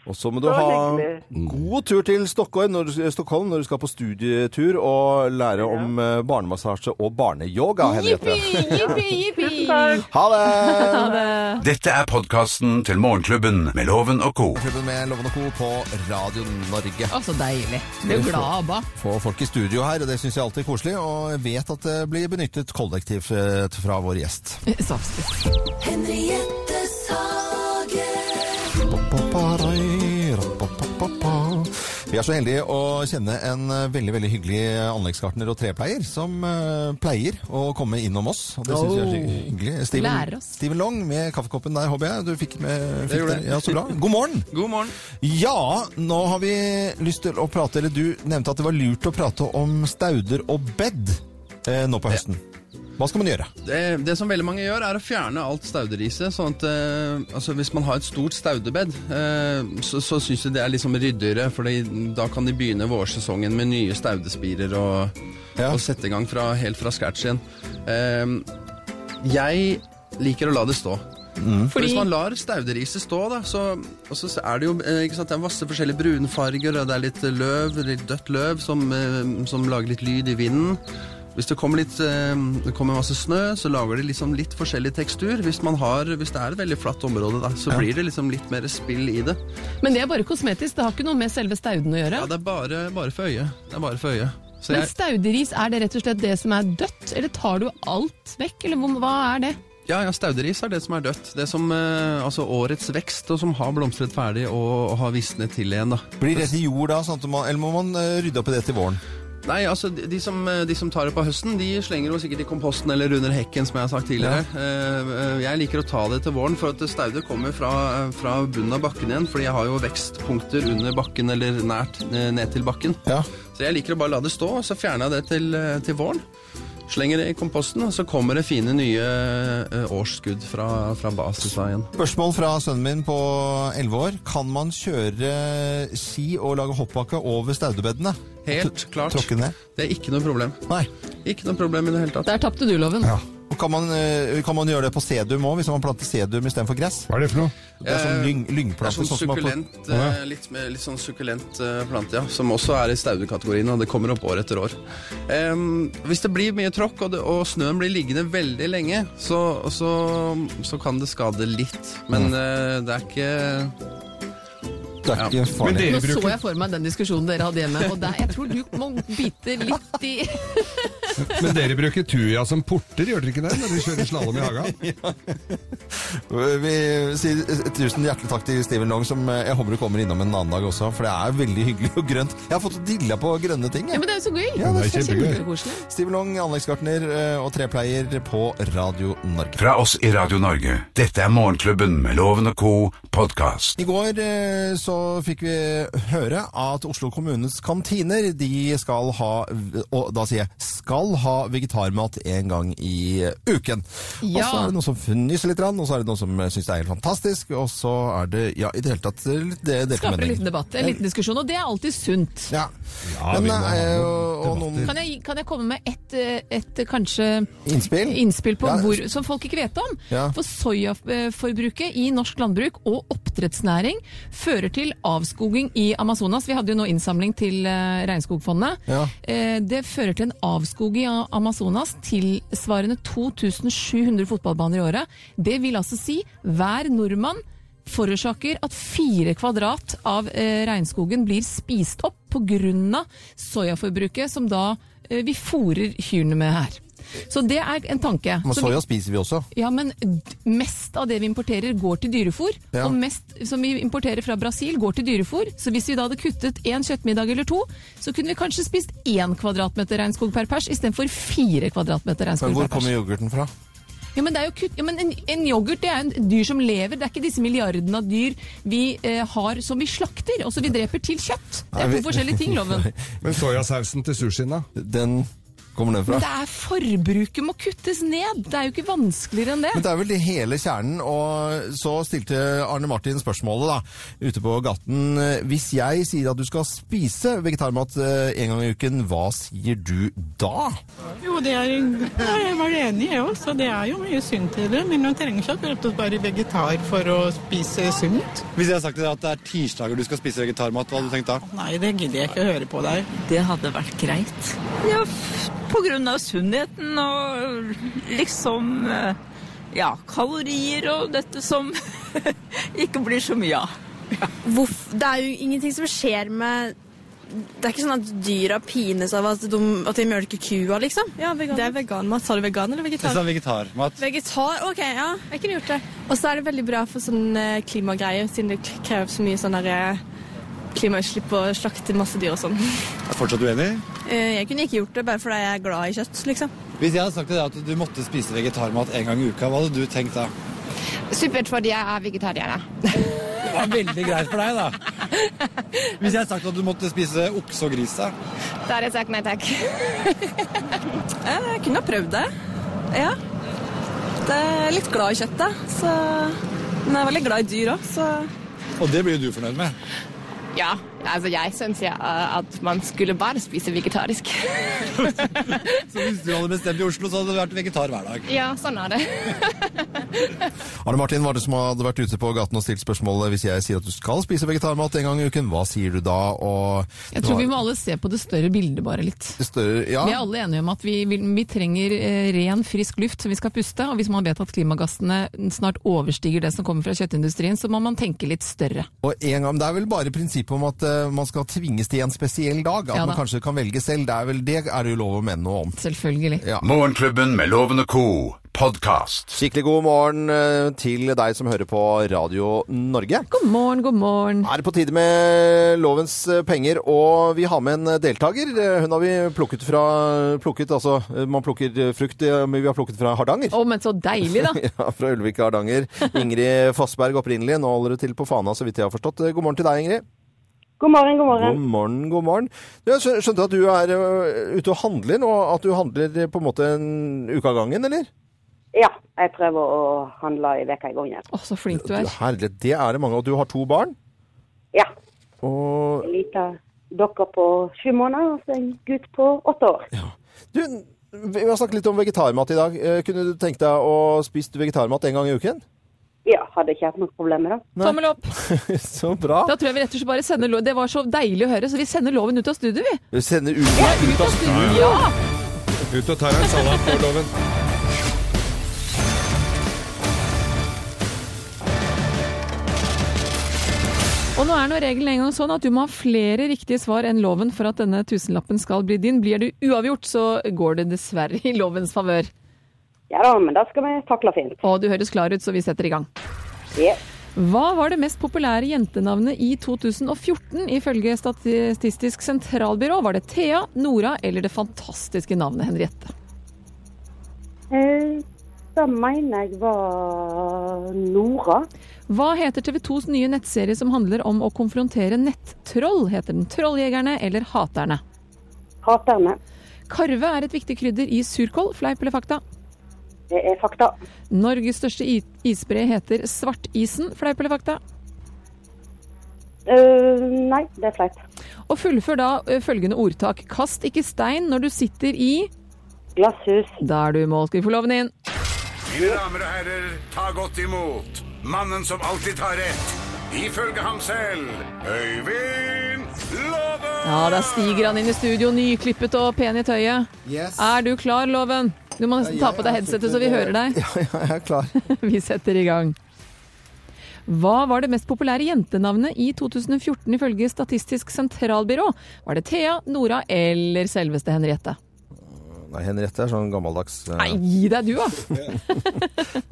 Speaker 3: Og så må du
Speaker 7: Så
Speaker 3: ha
Speaker 7: hyggelig.
Speaker 3: god tur til Stockholm når, du- Stockholm når du skal på studietur og lære om eh, barnemassasje og barneyoga, Henriette.
Speaker 5: Jippi, jippi, jippi!
Speaker 7: Takk.
Speaker 3: Ha det!
Speaker 2: Dette er podkasten til Morgenklubben med Loven og co.
Speaker 3: Klubben med Loven og Co. på Radio Norge.
Speaker 5: Å, så deilig. Du er glad, ABBA.
Speaker 3: Få folk i studio her, og det syns jeg alltid er koselig. Og jeg vet at det blir benyttet kollektivt eh, fra vår gjest.
Speaker 5: Så absolutt.
Speaker 1: Henriette Sagen.
Speaker 3: Vi er så heldige å kjenne en eh, veldig veldig hyggelig anleggsgartner og trepleier som eh, pleier å komme innom oss. Og det syns jeg er hy- hyggelig.
Speaker 5: Lærer oss.
Speaker 3: Steven Long med kaffekoppen der, håper jeg. Du fikk med fikk
Speaker 8: gjorde
Speaker 3: den. Ja, så bra. God morgen!
Speaker 8: God morgen.
Speaker 3: Ja, nå har vi lyst til å prate Eller du nevnte at det var lurt å prate om stauder og bed eh, nå på høsten. Hva skal man gjøre?
Speaker 8: Det, det som veldig mange gjør, er å fjerne alt stauderiset. Sånn at eh, altså, hvis man har et stort staudebed, eh, så, så syns jeg det er liksom ryddigere, for da kan de begynne vårsesongen med nye staudespirer og,
Speaker 3: Ja.
Speaker 8: og sette i gang fra, helt fra scratch igjen. Eh, jeg liker å la det stå. For
Speaker 5: Fordi-
Speaker 8: Hvis man lar stauderiset stå, da, så, og så er det jo eh, ikke sant, det er masse forskjellige brunfarger, og det er litt løv, litt dødt løv, som, eh, som lager litt lyd i vinden. Hvis det kommer, litt, eh, det kommer masse snø, så lager det liksom litt forskjellig tekstur. Hvis, man har, hvis det er et veldig flatt område, da, så blir det liksom litt mer spill i det.
Speaker 5: Men det er bare kosmetisk, det har ikke noe med selve stauden å gjøre.
Speaker 8: Ja, det er bare, bare for øyet. Det er bare for øyet. Så
Speaker 5: Men
Speaker 8: jeg,
Speaker 5: stauderis, er det rett og slett det som er dødt, eller tar du alt vekk, eller hvor- hva er det?
Speaker 8: ja, ja, stauderis er det som er dødt. Det som, eh, altså årets vekst, og som har blomstret ferdig og, og har visnet til igjen, da.
Speaker 3: Blir det til jord da, sånn at man, eller må man eh, rydde opp i det til våren?
Speaker 8: Nei, altså de, de, som, de som tar det på høsten, de slenger jo sikkert i komposten eller under hekken, som jeg har sagt tidligere. Eh, eh, Jeg liker å ta det til våren, for at stauder kommer fra, fra bunnen av bakken igjen. Fordi jeg har jo vekstpunkter under bakken eller nært eh, ned til bakken.
Speaker 3: Ja.
Speaker 8: Så jeg liker å bare la det stå, og så fjerner jeg det til, eh, til våren. Slenger det i komposten, og så kommer det fine nye eh, årsskudd fra, fra basis av igjen.
Speaker 3: Spørsmål fra sønnen min på 11 år. Kan man kjøre ski og lage hoppbakke over staudebedene?
Speaker 8: Helt klart.
Speaker 3: Tråkke ned?
Speaker 8: Det er ikke noe problem.
Speaker 3: Nei.
Speaker 8: Ikke noe problem i det hele tatt.
Speaker 5: Der tapte du, Loven.
Speaker 3: Og kan man, eh, kan man gjøre det på sedum òg, hvis man planter sedum istedenfor gress?
Speaker 4: Hva er det for noe?
Speaker 3: Det er sånn
Speaker 8: Eh,
Speaker 3: lyng,
Speaker 8: Det er
Speaker 3: lyngplante.
Speaker 8: sånn
Speaker 3: sånn som man plant-
Speaker 8: sukkulent, eh, litt, mer- litt sånn sukkulent eh, plante, ja. Som også er i staudekategorien, og det kommer opp år etter år. Em, hvis det blir mye tråkk, og, det, og snøen blir liggende veldig lenge, så, så, så kan det skade litt. Men
Speaker 3: Mm.
Speaker 8: eh, det er ikke
Speaker 3: Det er ikke farlig.
Speaker 5: Nå så jeg for meg den diskusjonen dere hadde hjemme, og der, jeg tror du må bite litt i
Speaker 4: Men dere bruker tuja som porter, gjør dere ikke det? Når dere kjører slalåm i haga?
Speaker 3: Vi sier eh, tusen hjertelig takk til Steven Long, som eh, jeg håper du kommer innom en annen dag også, for det er veldig hyggelig og grønt. Jeg har fått dilla på grønne ting,
Speaker 5: Ja,
Speaker 3: jeg.
Speaker 5: men det er jo så gøy!
Speaker 3: Ja, det er
Speaker 4: kjempegøy.
Speaker 5: Kjempekoselig.
Speaker 3: Steven Long, anleggsgartner eh, og trepleier på Radio Norge.
Speaker 2: Fra oss i Radio Norge. Dette er Morgenklubben med Loven og co. podkast.
Speaker 3: I går eh, så fikk vi høre at Oslo kommunes kantiner de skal ha, og da sier jeg skal ha vegetarmat en gang i uken. Og
Speaker 5: Ja.
Speaker 3: så er det noen som fnyser litt, grann, og så er det noen som syns det er helt fantastisk, og så er det ja, i det hele tatt eh, litt det, delte
Speaker 5: Skaper en
Speaker 3: meninger.
Speaker 5: liten debatt, en liten diskusjon, og det er alltid sunt.
Speaker 3: Ja.
Speaker 4: Ja, vi
Speaker 3: Men,
Speaker 4: må ha
Speaker 3: eh,
Speaker 4: noen
Speaker 3: og, og noen
Speaker 5: Kan jeg, kan jeg komme med et, eh, et kanskje
Speaker 3: innspill?
Speaker 5: innspill på
Speaker 3: Ja.
Speaker 5: hvor, som folk ikke vet om?
Speaker 3: Ja.
Speaker 5: For soyaforbruket i norsk landbruk og oppdrettsnæring fører til avskoging i Amazonas. Vi hadde jo nå innsamling til eh, Regnskogfondet.
Speaker 3: Ja.
Speaker 5: Eh, Det fører til en avskoging av Amazonas tilsvarende 2700 fotballbaner i året. Det vil altså si hver nordmann forårsaker at fire kvadrat av eh, regnskogen blir spist opp pga. soyaforbruket som da eh, vi fôrer kyrne med her. Så det er en tanke.
Speaker 3: Men
Speaker 5: som vi-
Speaker 3: soya spiser vi også.
Speaker 5: ja, men d- mest av det vi importerer går til dyrefôr,
Speaker 3: Ja.
Speaker 5: og mest som vi importerer fra Brasil går til dyrefôr. Så hvis vi da hadde kuttet én kjøttmiddag eller to, så kunne vi kanskje spist én kvadratmeter regnskog per pers istedenfor fire kvadratmeter
Speaker 3: Men
Speaker 5: regnskog
Speaker 3: hvor
Speaker 5: per
Speaker 3: kommer
Speaker 5: pers.
Speaker 3: yoghurten fra?
Speaker 5: Ja, men, det er jo kutt, ja, men en, en yoghurt det er en dyr som lever, det er ikke disse milliardene av dyr vi eh, har som vi slakter, og som vi dreper til kjøtt. Det er
Speaker 3: Nei,
Speaker 5: to
Speaker 3: vi-
Speaker 5: forskjellige ting, loven.
Speaker 4: Men sojasausen til sushien, da?
Speaker 3: Den kommer den fra?
Speaker 5: Men det er forbruket må kuttes ned. Det er jo ikke vanskeligere enn det.
Speaker 3: Men det er vel det hele kjernen, og så stilte Arne Martin spørsmålet da, ute på gaten. Hvis jeg sier at du skal spise vegetarmat eh, en gang i uken, hva sier du da?
Speaker 9: Jo, det er, ja, jeg var enig i, jeg òg. Så det er jo mye sunt i det. Men man trenger ikke at vi er bare vegetar for å spise sunt.
Speaker 10: Hvis jeg har sagt til deg at det er tirsdager du skal spise vegetarmat, hva hadde du tenkt da?
Speaker 9: Nei, det gidder jeg ikke å høre på deg.
Speaker 11: Det hadde vært greit. Ja, f- på grunn av sunnheten og liksom eh, ja, kalorier og dette som ikke blir så mye av.
Speaker 12: Det er jo ingenting som skjer med Det er ikke sånn at dyra pines av at de, at de mjølker kua, liksom. Det er veganmat. Sa du vegan eller
Speaker 10: Jeg sa vegetarmat.
Speaker 12: Vegetar, ok, ja. Jeg kunne gjort det. Og så er det veldig bra for sånn eh, klimagreier, siden det k- krever så mye sånn der, eh, klimautslipp og slakte masse dyr og sånn. Eh,
Speaker 10: Er fortsatt uenig?
Speaker 12: Jeg kunne ikke gjort det bare fordi jeg er glad i kjøtt, liksom.
Speaker 10: Hvis jeg hadde sagt til deg at du måtte spise vegetarmat en gang i uka, hva hadde du tenkt da?
Speaker 13: Supert, fordi jeg er vegetarianer.
Speaker 10: Det var veldig greit for deg, da. Hvis jeg hadde sagt at du måtte spise okse og gris, da?
Speaker 13: Da har jeg sagt nei takk.
Speaker 11: Jeg kunne ha prøvd det. Ja. Det er litt glad i kjøttet, så Men jeg er veldig glad i dyr òg, så
Speaker 10: Og det blir jo du fornøyd med.
Speaker 13: Ja, altså jeg syns jeg, eh, at man skulle bare spise vegetarisk.
Speaker 10: Så hvis du hadde bestemt i Oslo, så hadde du vært vegetar hver dag.
Speaker 13: Ja, sånn er det.
Speaker 3: Arne Martin var det som hadde vært ute på gaten og stilt spørsmålet hvis jeg sier at du skal spise vegetarmat en gang i uken, hva sier du da? Og
Speaker 5: Jeg tror vi må alle se på det større bildet bare litt.
Speaker 3: Større, ja.
Speaker 5: Vi er alle enige om at vi, vil, vi trenger eh, ren, frisk luft som vi skal puste. Og hvis man vet at klimagassene snart overstiger det som kommer fra kjøttindustrien, så må man tenke litt større.
Speaker 3: Og en gang, Det er vel bare prinsippet om at eh, man skal tvinges til en spesiell dag. At
Speaker 5: Ja da.
Speaker 3: man kanskje kan velge selv. Det er vel det er det jo lov å mene noe om.
Speaker 5: Selvfølgelig.
Speaker 2: Morgenklubben med Loven og Co. Podcast.
Speaker 3: Skikkelig god morgen eh, til deg som hører på Radio Norge.
Speaker 5: God morgen, god morgen.
Speaker 3: Er det på tide med lovens eh, penger, og vi har med en deltaker. Eh, Hun har vi plukket fra plukket, altså, eh, Man plukker eh, frukt, eh, men vi har plukket fra Hardanger.
Speaker 5: Å, men så deilig, da.
Speaker 3: Ja, fra Ulvik og Hardanger. Ingrid Fossberg opprinnelig. Nå holder du til på Fana, så vidt jeg har forstått. Eh, God morgen til deg, Ingrid.
Speaker 14: God morgen, god
Speaker 3: God
Speaker 14: morgen.
Speaker 3: morgen, god morgen. Jeg skjø- skjønte at du er ø, ute og handler nå, at du handler eh, på en måte en uke av gangen, eller?
Speaker 14: Ja, jeg prøver å handle i veka i gangen.
Speaker 5: Å, så flink du
Speaker 3: Du,
Speaker 5: er.
Speaker 3: herlighet, det er det mange. Og du har to barn?
Speaker 14: Ja.
Speaker 3: Og
Speaker 14: En liten dokke på sju måneder og så en gutt på åtte år.
Speaker 3: du, vi har snakket litt om vegetarmat i dag. Eh, Kunne du tenkt deg å spise vegetarmat en gang i uken?
Speaker 14: Ja, hadde ikke hatt noe problem med det.
Speaker 5: Tommel opp.
Speaker 3: Så bra.
Speaker 5: Da tror jeg vi rett og slett bare sender loven Det var så deilig å høre, så vi sender loven ut av studio, vi.
Speaker 3: Du sender ut meg ut av studio.
Speaker 5: Ja!
Speaker 4: Ut og tar deg en salat på loven.
Speaker 5: Og nå er nå regelen en gang sånn at du må ha flere riktige svar enn loven for at denne tusenlappen skal bli din. Blir det uavgjort, så går det dessverre i lovens favør.
Speaker 14: Ja da, men det skal vi takle fint.
Speaker 5: Og du høres klar ut, så vi setter i gang.
Speaker 14: Ja.
Speaker 5: Hva var det mest populære jentenavnet i 2014 ifølge Statistisk sentralbyrå? Var det Thea, Nora eller det fantastiske navnet Henriette?
Speaker 14: Eh, Da mener jeg var Nora.
Speaker 5: Hva heter TV 2s nye nettserie som handler om å konfrontere nettroll? Heter den Trolljegerne eller Haterne?
Speaker 14: Haterne.
Speaker 5: Karve er et viktig krydder i surkål, fleip eller fakta?
Speaker 14: Det er fakta.
Speaker 5: Norges største i- isbre heter Svartisen, fleip eller fakta?
Speaker 14: Eh, nei, det er flaut.
Speaker 5: Og fullfør da ø, følgende ordtak. Kast ikke stein når du sitter i
Speaker 14: Glasshus.
Speaker 5: Da er du i mål. Skal vi få loven inn?
Speaker 2: Mine damer og herrer, ta godt imot mannen som alltid tar rett. Ifølge ham selv Øyvind Love!
Speaker 5: Ja, da stiger han inn i studio, nyklippet og pen i tøyet.
Speaker 3: Yes.
Speaker 5: Er du klar, Loven? Du må nesten ta på deg headsetet så vi hører deg.
Speaker 3: Ja, ja, jeg er klar.
Speaker 5: Vi setter i gang. Hva var det mest populære jentenavnet i 2014 ifølge Statistisk sentralbyrå? Var det Thea, Nora eller selveste Henriette?
Speaker 3: Nei, Henriette er sånn gammeldags eh,
Speaker 5: Nei, gi deg du, da!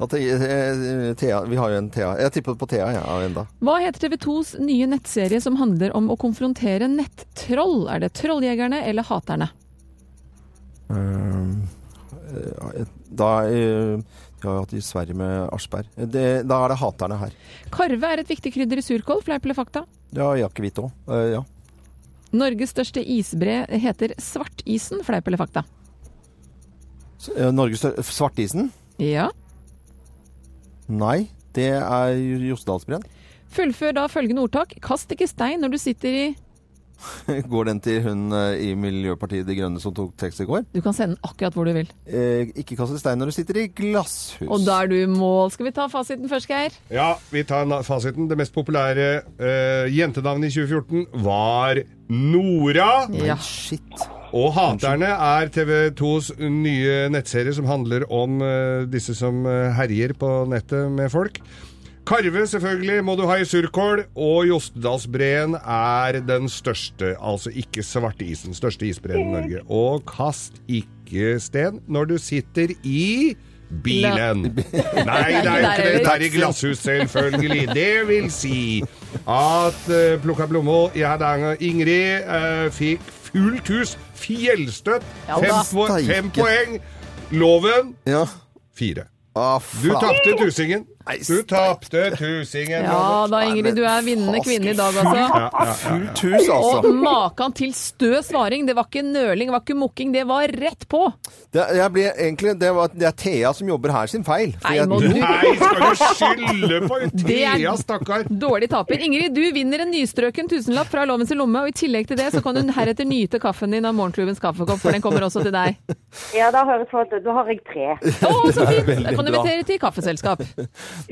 Speaker 3: at, eh, Thea, Vi har jo en Thea. Jeg tippet på Thea, jeg, ja, enda.
Speaker 5: Hva heter TV 2s nye nettserie som handler om å konfrontere nettroll? Er det Trolljegerne eller Haterne?
Speaker 3: Ehm, eh, Da eh, De har jo hatt i Sverige med Aschberg. Det, da er det haterne her.
Speaker 5: Karve er et viktig krydder i surkål, fleip eller fakta?
Speaker 3: Ja, Jakkehvit òg. Eh, Ja.
Speaker 5: Norges største isbre heter Svartisen, fleip eller fakta?
Speaker 3: S- eh, Norges stør- Svartisen?
Speaker 5: Ja.
Speaker 3: Nei, det er Jostedalsbreen.
Speaker 5: Fullfør da følgende ordtak. Kast ikke stein når du sitter i
Speaker 3: Går den til hun eh, i Miljøpartiet De Grønne som tok tekst i går?
Speaker 5: Du kan sende den akkurat hvor du vil.
Speaker 3: Eh, Ikke kast stein når du sitter i glasshus.
Speaker 5: Og da er du i mål. Skal vi ta fasiten først, Geir?
Speaker 4: Ja, vi tar na- fasiten. Det mest populære eh, jentenavnet i 2014 var Nora.
Speaker 5: Ja.
Speaker 3: Shit.
Speaker 4: Og Haterne er TV2s nye nettserie som handler om eh, disse som eh, herjer på nettet med folk. Karve selvfølgelig må du ha i surkål, og Jostedalsbreen er den største, altså ikke svartisen, største isbreen i Norge. Og kast ikke sten når du sitter i bilen. Nei, det er jo ikke det. Det er i glasshus, selvfølgelig. Det vil si at eh, plukka blommer i Hardanger Ingrid eh, fikk fullt hus, fjellstøtt,
Speaker 2: Ja
Speaker 4: fem,
Speaker 2: da.
Speaker 4: po fem
Speaker 2: Steike.
Speaker 4: poeng. Loven fire.
Speaker 3: Ah,
Speaker 4: Du tapte tusingen. Du tapte tusingen.
Speaker 5: Ja
Speaker 4: Loven.
Speaker 5: da, Ingrid. Du er vinnende kvinne i dag, altså.
Speaker 4: Ja, ja, ja.
Speaker 3: Fullt hus, altså.
Speaker 5: Og makan til stø svaring. Det var ikke nøling, det var ikke mokking, det var rett på.
Speaker 3: Det, jeg ble, egentlig, det, var, det er Thea som jobber her sin feil. for
Speaker 5: Nei,
Speaker 3: jeg-
Speaker 5: må du- Nei,
Speaker 4: skal du skylde på
Speaker 5: Det er
Speaker 4: Thea, stakkar?
Speaker 5: dårlig taper. Ingrid, du vinner en nystrøken tusenlapp fra Lovens i lomme, og i tillegg til det så kan hun heretter nyte kaffen din av Morgenklubbens kaffekopp, for den kommer også til deg.
Speaker 14: Ja, da høres det ut. Da har jeg tre.
Speaker 5: Å, så
Speaker 3: Det er
Speaker 5: fint! Da
Speaker 3: veldig
Speaker 5: kan du
Speaker 3: bra.
Speaker 5: invitere til kaffeselskap.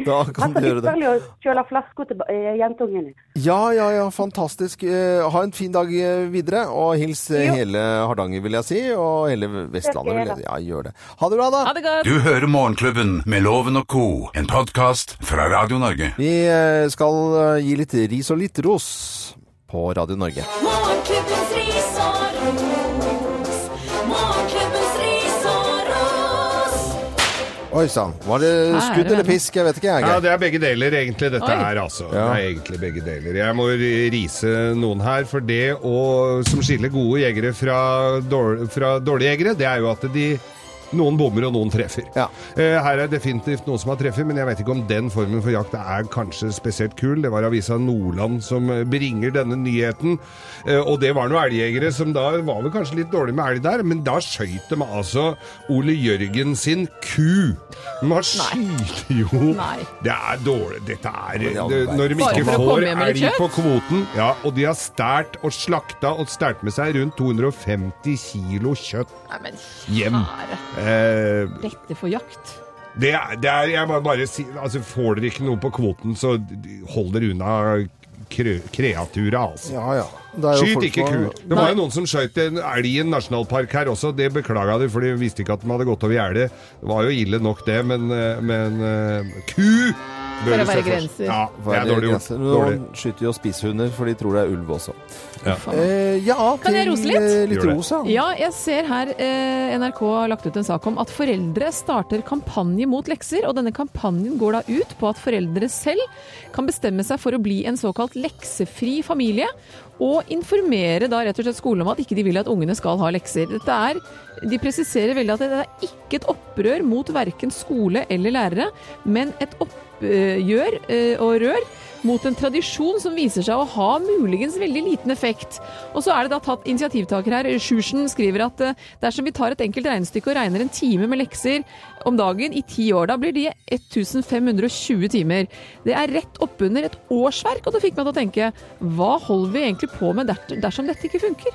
Speaker 3: Da
Speaker 5: Altså,
Speaker 3: kan du gjøre det.
Speaker 14: Ypperlig Altså, å kjøle flasker til ba- eh, jentungen.
Speaker 3: Ja, ja, ja, fantastisk. Eh, Ha en fin dag eh, videre, og hils eh, hele Hardanger, vil jeg si, og hele Vestlandet. Vil jeg. Ja, gjør det. Ha det bra, da!
Speaker 2: Du hører Morgenklubben med Loven og Co., en podkast fra Radio Norge.
Speaker 3: Vi eh, skal eh, gi litt ris og litt ros på Radio Norge.
Speaker 1: Morgenklubbens ris og ros. Morgenklubbens ris og ros.
Speaker 3: Oi sann, var det
Speaker 4: Her er
Speaker 3: skudd
Speaker 4: det
Speaker 3: eller
Speaker 4: den.
Speaker 3: pisk? Jeg vet ikke, jeg.
Speaker 4: Ja,
Speaker 3: Geir.
Speaker 4: det er begge deler, egentlig, dette
Speaker 3: Oi.
Speaker 4: her, altså.
Speaker 3: Ja.
Speaker 4: Det er egentlig begge deler. Jeg må rise noen her, for det å, som skiller gode jegere fra, dårl- fra dårlige jegere, det er jo at de noen bommer og noen treffer. Eh, Her er definitivt noen som har treffer, men jeg vet ikke om den formen for jakt er kanskje spesielt kul. Det var avisa Nordland som eh, bringer denne nyheten. Eh, Og det var noen elgjegere som da var vel kanskje litt dårlig med elg der, men da skøyt de altså Ole Jørgen sin ku. De har skyter jo
Speaker 2: Nei.
Speaker 4: Det er dårlig. Dette er
Speaker 2: Men i all
Speaker 4: det,
Speaker 2: verden.
Speaker 4: Når de
Speaker 2: Bare
Speaker 4: ikke
Speaker 2: for å
Speaker 4: får
Speaker 2: komme hjem med litt
Speaker 4: elg på
Speaker 2: kjøtt?
Speaker 4: kvoten, ja, og de har stært og slakta og stært med seg rundt 250 kilo kjøtt
Speaker 5: Nei, men
Speaker 4: hjem. Eh,
Speaker 5: Dette for jakt.
Speaker 4: det er, det er, jeg må bare si, altså Får dere ikke noe på kvoten, så hold dere unna krø- kreatura, altså.
Speaker 3: Ja, ja. Det er jo
Speaker 4: Skyt
Speaker 3: folk
Speaker 4: ikke
Speaker 3: som-
Speaker 4: kuer. Det var
Speaker 3: Nei.
Speaker 4: jo noen som skjøt en elg i en nasjonalpark her også. Det beklaga de, for de visste ikke at de hadde gått over gjerdet. Det var jo ille nok, det, men, eh, men eh, Ku!
Speaker 5: For å
Speaker 4: du se
Speaker 5: være
Speaker 4: for-
Speaker 5: grenser.
Speaker 4: Ja, det er
Speaker 3: Verre
Speaker 4: dårlig gjort.
Speaker 3: grenser.
Speaker 4: Dårlig.
Speaker 3: Nå skyter jo spisshunder, for de tror det er ulv også.
Speaker 4: Ja.
Speaker 3: Eh, ja,
Speaker 5: Kan jeg
Speaker 3: til,
Speaker 5: rose litt?
Speaker 3: eh, Litt ros, ja.
Speaker 5: Ja, jeg ser her eh, NRK har lagt ut en sak om at foreldre starter kampanje mot lekser, og denne kampanjen går da ut på at foreldre selv kan bestemme seg for å bli en såkalt leksefri familie, og informere da rett og slett skolen om at ikke de vil at ungene skal ha lekser. Dette er, de presiserer veldig at det er ikke et opprør mot verken skole eller lærere, men et oppgjør eh, og rør mot en tradisjon som viser seg å ha muligens veldig liten effekt. Og så er det da tatt initiativtaker her. Sjursen skriver at eh, dersom vi tar et enkelt regnestykke og regner en time med lekser om dagen i ti år, da blir de 1520 timer. Det er rett oppunder et årsverk, og det fikk meg til å tenke hva holder vi egentlig på med der- dersom dette ikke funker?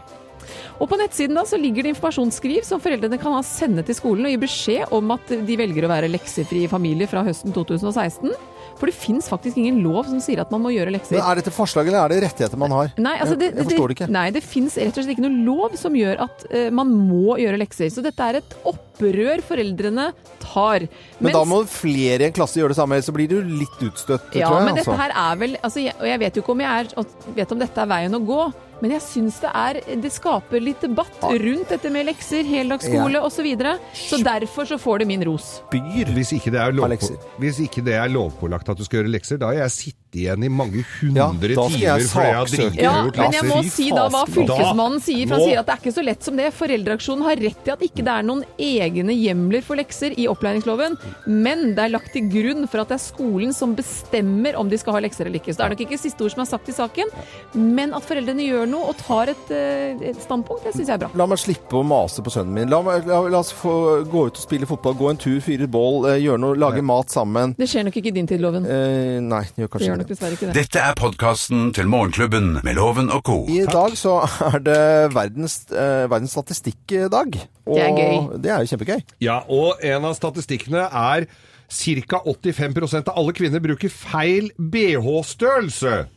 Speaker 5: Og på nettsiden da så ligger det informasjonsskriv som foreldrene kan ha sende til skolen og gi beskjed om at de velger å være leksefri familie fra høsten 2016. For det fins faktisk ingen lov som sier at man må gjøre lekser.
Speaker 3: Men er dette forslag, eller er det rettigheter man har?
Speaker 5: Nei, altså det,
Speaker 3: jeg, jeg forstår det ikke.
Speaker 5: Nei, det fins rett og slett ikke noen lov som gjør at eh, man må gjøre lekser. Så dette er et opprør foreldrene tar.
Speaker 3: Men
Speaker 5: Mens-
Speaker 3: da må flere i en klasse gjøre det samme, ellers så blir du litt utstøtt,
Speaker 5: ja,
Speaker 3: tror jeg.
Speaker 5: men
Speaker 3: altså.
Speaker 5: dette her er vel altså, jeg, Og jeg vet jo ikke om jeg er, at- vet om dette er veien å gå, men jeg syns det er Det skaper litt debatt rundt dette med lekser, heldagsskole
Speaker 4: Ja.
Speaker 5: osv. Så, videre. så derfor så får det min ros.
Speaker 4: Hvis ikke, det er lovpå, hvis ikke det er lovpålagt at du skal gjøre lekser, da har jeg sittet igjen i mange hundre
Speaker 3: da skal jeg
Speaker 4: timer fordi jeg har
Speaker 3: saksøke.
Speaker 4: driti
Speaker 5: Ja,
Speaker 4: gjort
Speaker 5: men jeg må
Speaker 4: lekser.
Speaker 5: si da hva fylkesmannen sier, for han
Speaker 4: Nå-
Speaker 5: sier at det er ikke så lett som det. Foreldreaksjonen har rett i at ikke det er noen egne hjemler for lekser i opplæringsloven, men det er lagt til grunn for at det er skolen som bestemmer om de skal ha lekser eller ikke. Så det er nok ikke siste ord som er sagt i saken, men at foreldrene gjør noe og tar et, eh, et standpunkt, det syns jeg er bra.
Speaker 3: La meg slippe å mase på sønnen min. La, meg, la, la oss få gå ut og spille fotball, gå en tur, fyre et bål, eh, gjøre noe, lage mat sammen.
Speaker 5: Det skjer nok ikke i din tid, Loven.
Speaker 3: Eh, nei, det gjør
Speaker 5: Det
Speaker 3: kanskje
Speaker 5: gjør
Speaker 3: ikke det.
Speaker 5: nok dessverre ikke det.
Speaker 2: Dette er podkasten til Morgenklubben med Loven og co.
Speaker 3: I dag så er det verdens, eh, verdens statistikkdag. Og
Speaker 4: Det er gøy.
Speaker 3: Det er jo kjempegøy.
Speaker 4: Ja, og en av statistikkene er ca. 85 av alle kvinner bruker feil BH-størrelse.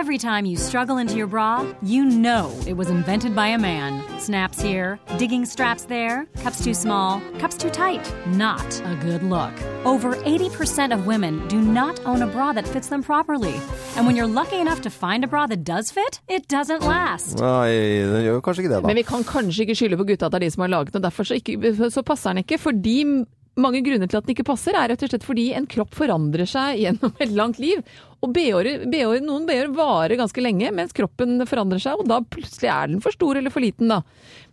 Speaker 15: Every time you struggle into your bra, you know it was invented by a man. Snaps here, digging straps there, cups too small, cups too tight. Not a good look. Over 80% of women do not own a bra that fits them properly. And when you're lucky enough to find a bra that does fit, it doesn't last.
Speaker 3: Nei, den gjør jo kanskje ikke det, da.
Speaker 5: Men vi kan kanskje ikke skylde på gutta at det er de som har laget den, og derfor så, ikke, så passer den ikke. Fordi mange grunner til at den ikke passer, er rett og slett fordi en kropp forandrer seg gjennom et langt liv. Og BH-er, BH-er- noen BH-er varer ganske lenge, mens kroppen forandrer seg, og da plutselig er den for stor eller for liten, da.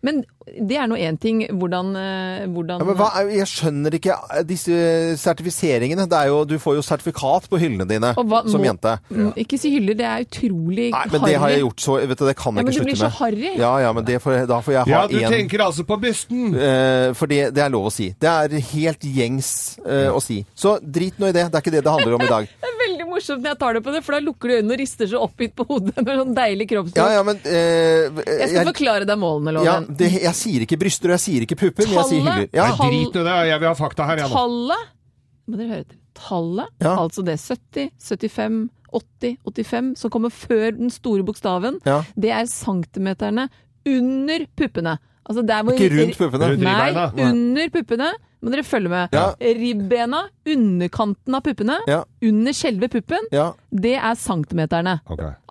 Speaker 5: Men det er nå én ting hvordan, eh, hvordan
Speaker 3: Ja, men hva, er- jeg skjønner ikke disse sertifiseringene. Det er jo, du får jo sertifikat på hyllene dine
Speaker 5: Og hva-
Speaker 3: som
Speaker 5: må-
Speaker 3: jente.
Speaker 5: Mm, Ikke si hyller, det er utrolig
Speaker 3: Nei, men det har jeg gjort, så vet du, det kan
Speaker 5: Ja,
Speaker 3: jeg
Speaker 5: men
Speaker 3: ikke
Speaker 5: du
Speaker 3: slutte med.
Speaker 5: blir så harry.
Speaker 3: Ja, ja, men det får, jeg- da får jeg ha
Speaker 4: Ja, du
Speaker 3: en-
Speaker 4: tenker altså på bysten!
Speaker 3: Eh, for det, det er lov å si. Det er helt gjengs eh, å si. Så drit nå i det. Det er ikke det det handler om i dag.
Speaker 5: Det er veldig morsomt når jeg tar det på det, for da lukker du øynene og rister så oppgitt på hodet med sånn deilig kroppsspråk.
Speaker 3: Ja, ja, men eh,
Speaker 5: jeg skal forklare deg målene,
Speaker 3: ja,
Speaker 5: Loven.
Speaker 3: det, Jeg sier ikke bryster, og jeg sier ikke pupper, men jeg sier hyller.
Speaker 5: Tallet-
Speaker 3: Ja.
Speaker 5: Nei, drit
Speaker 4: i det. Jeg vil ha fakta her,
Speaker 5: Tallet må dere høre etter. Tallet,
Speaker 3: Ja.
Speaker 5: altså det 70, 75, 80, 85, som kommer før den store bokstaven,
Speaker 3: Ja.
Speaker 5: det er centimeterne under puppene. Altså der hvor
Speaker 3: Ikke rundt puppene. Rundt ribbeina.
Speaker 5: Nei, under puppene. Må dere følge med.
Speaker 3: Ja.
Speaker 5: Ribbeina, underkanten av puppene,
Speaker 3: Ja.
Speaker 5: under selve puppen,
Speaker 3: Ja.
Speaker 5: det er centimeterne.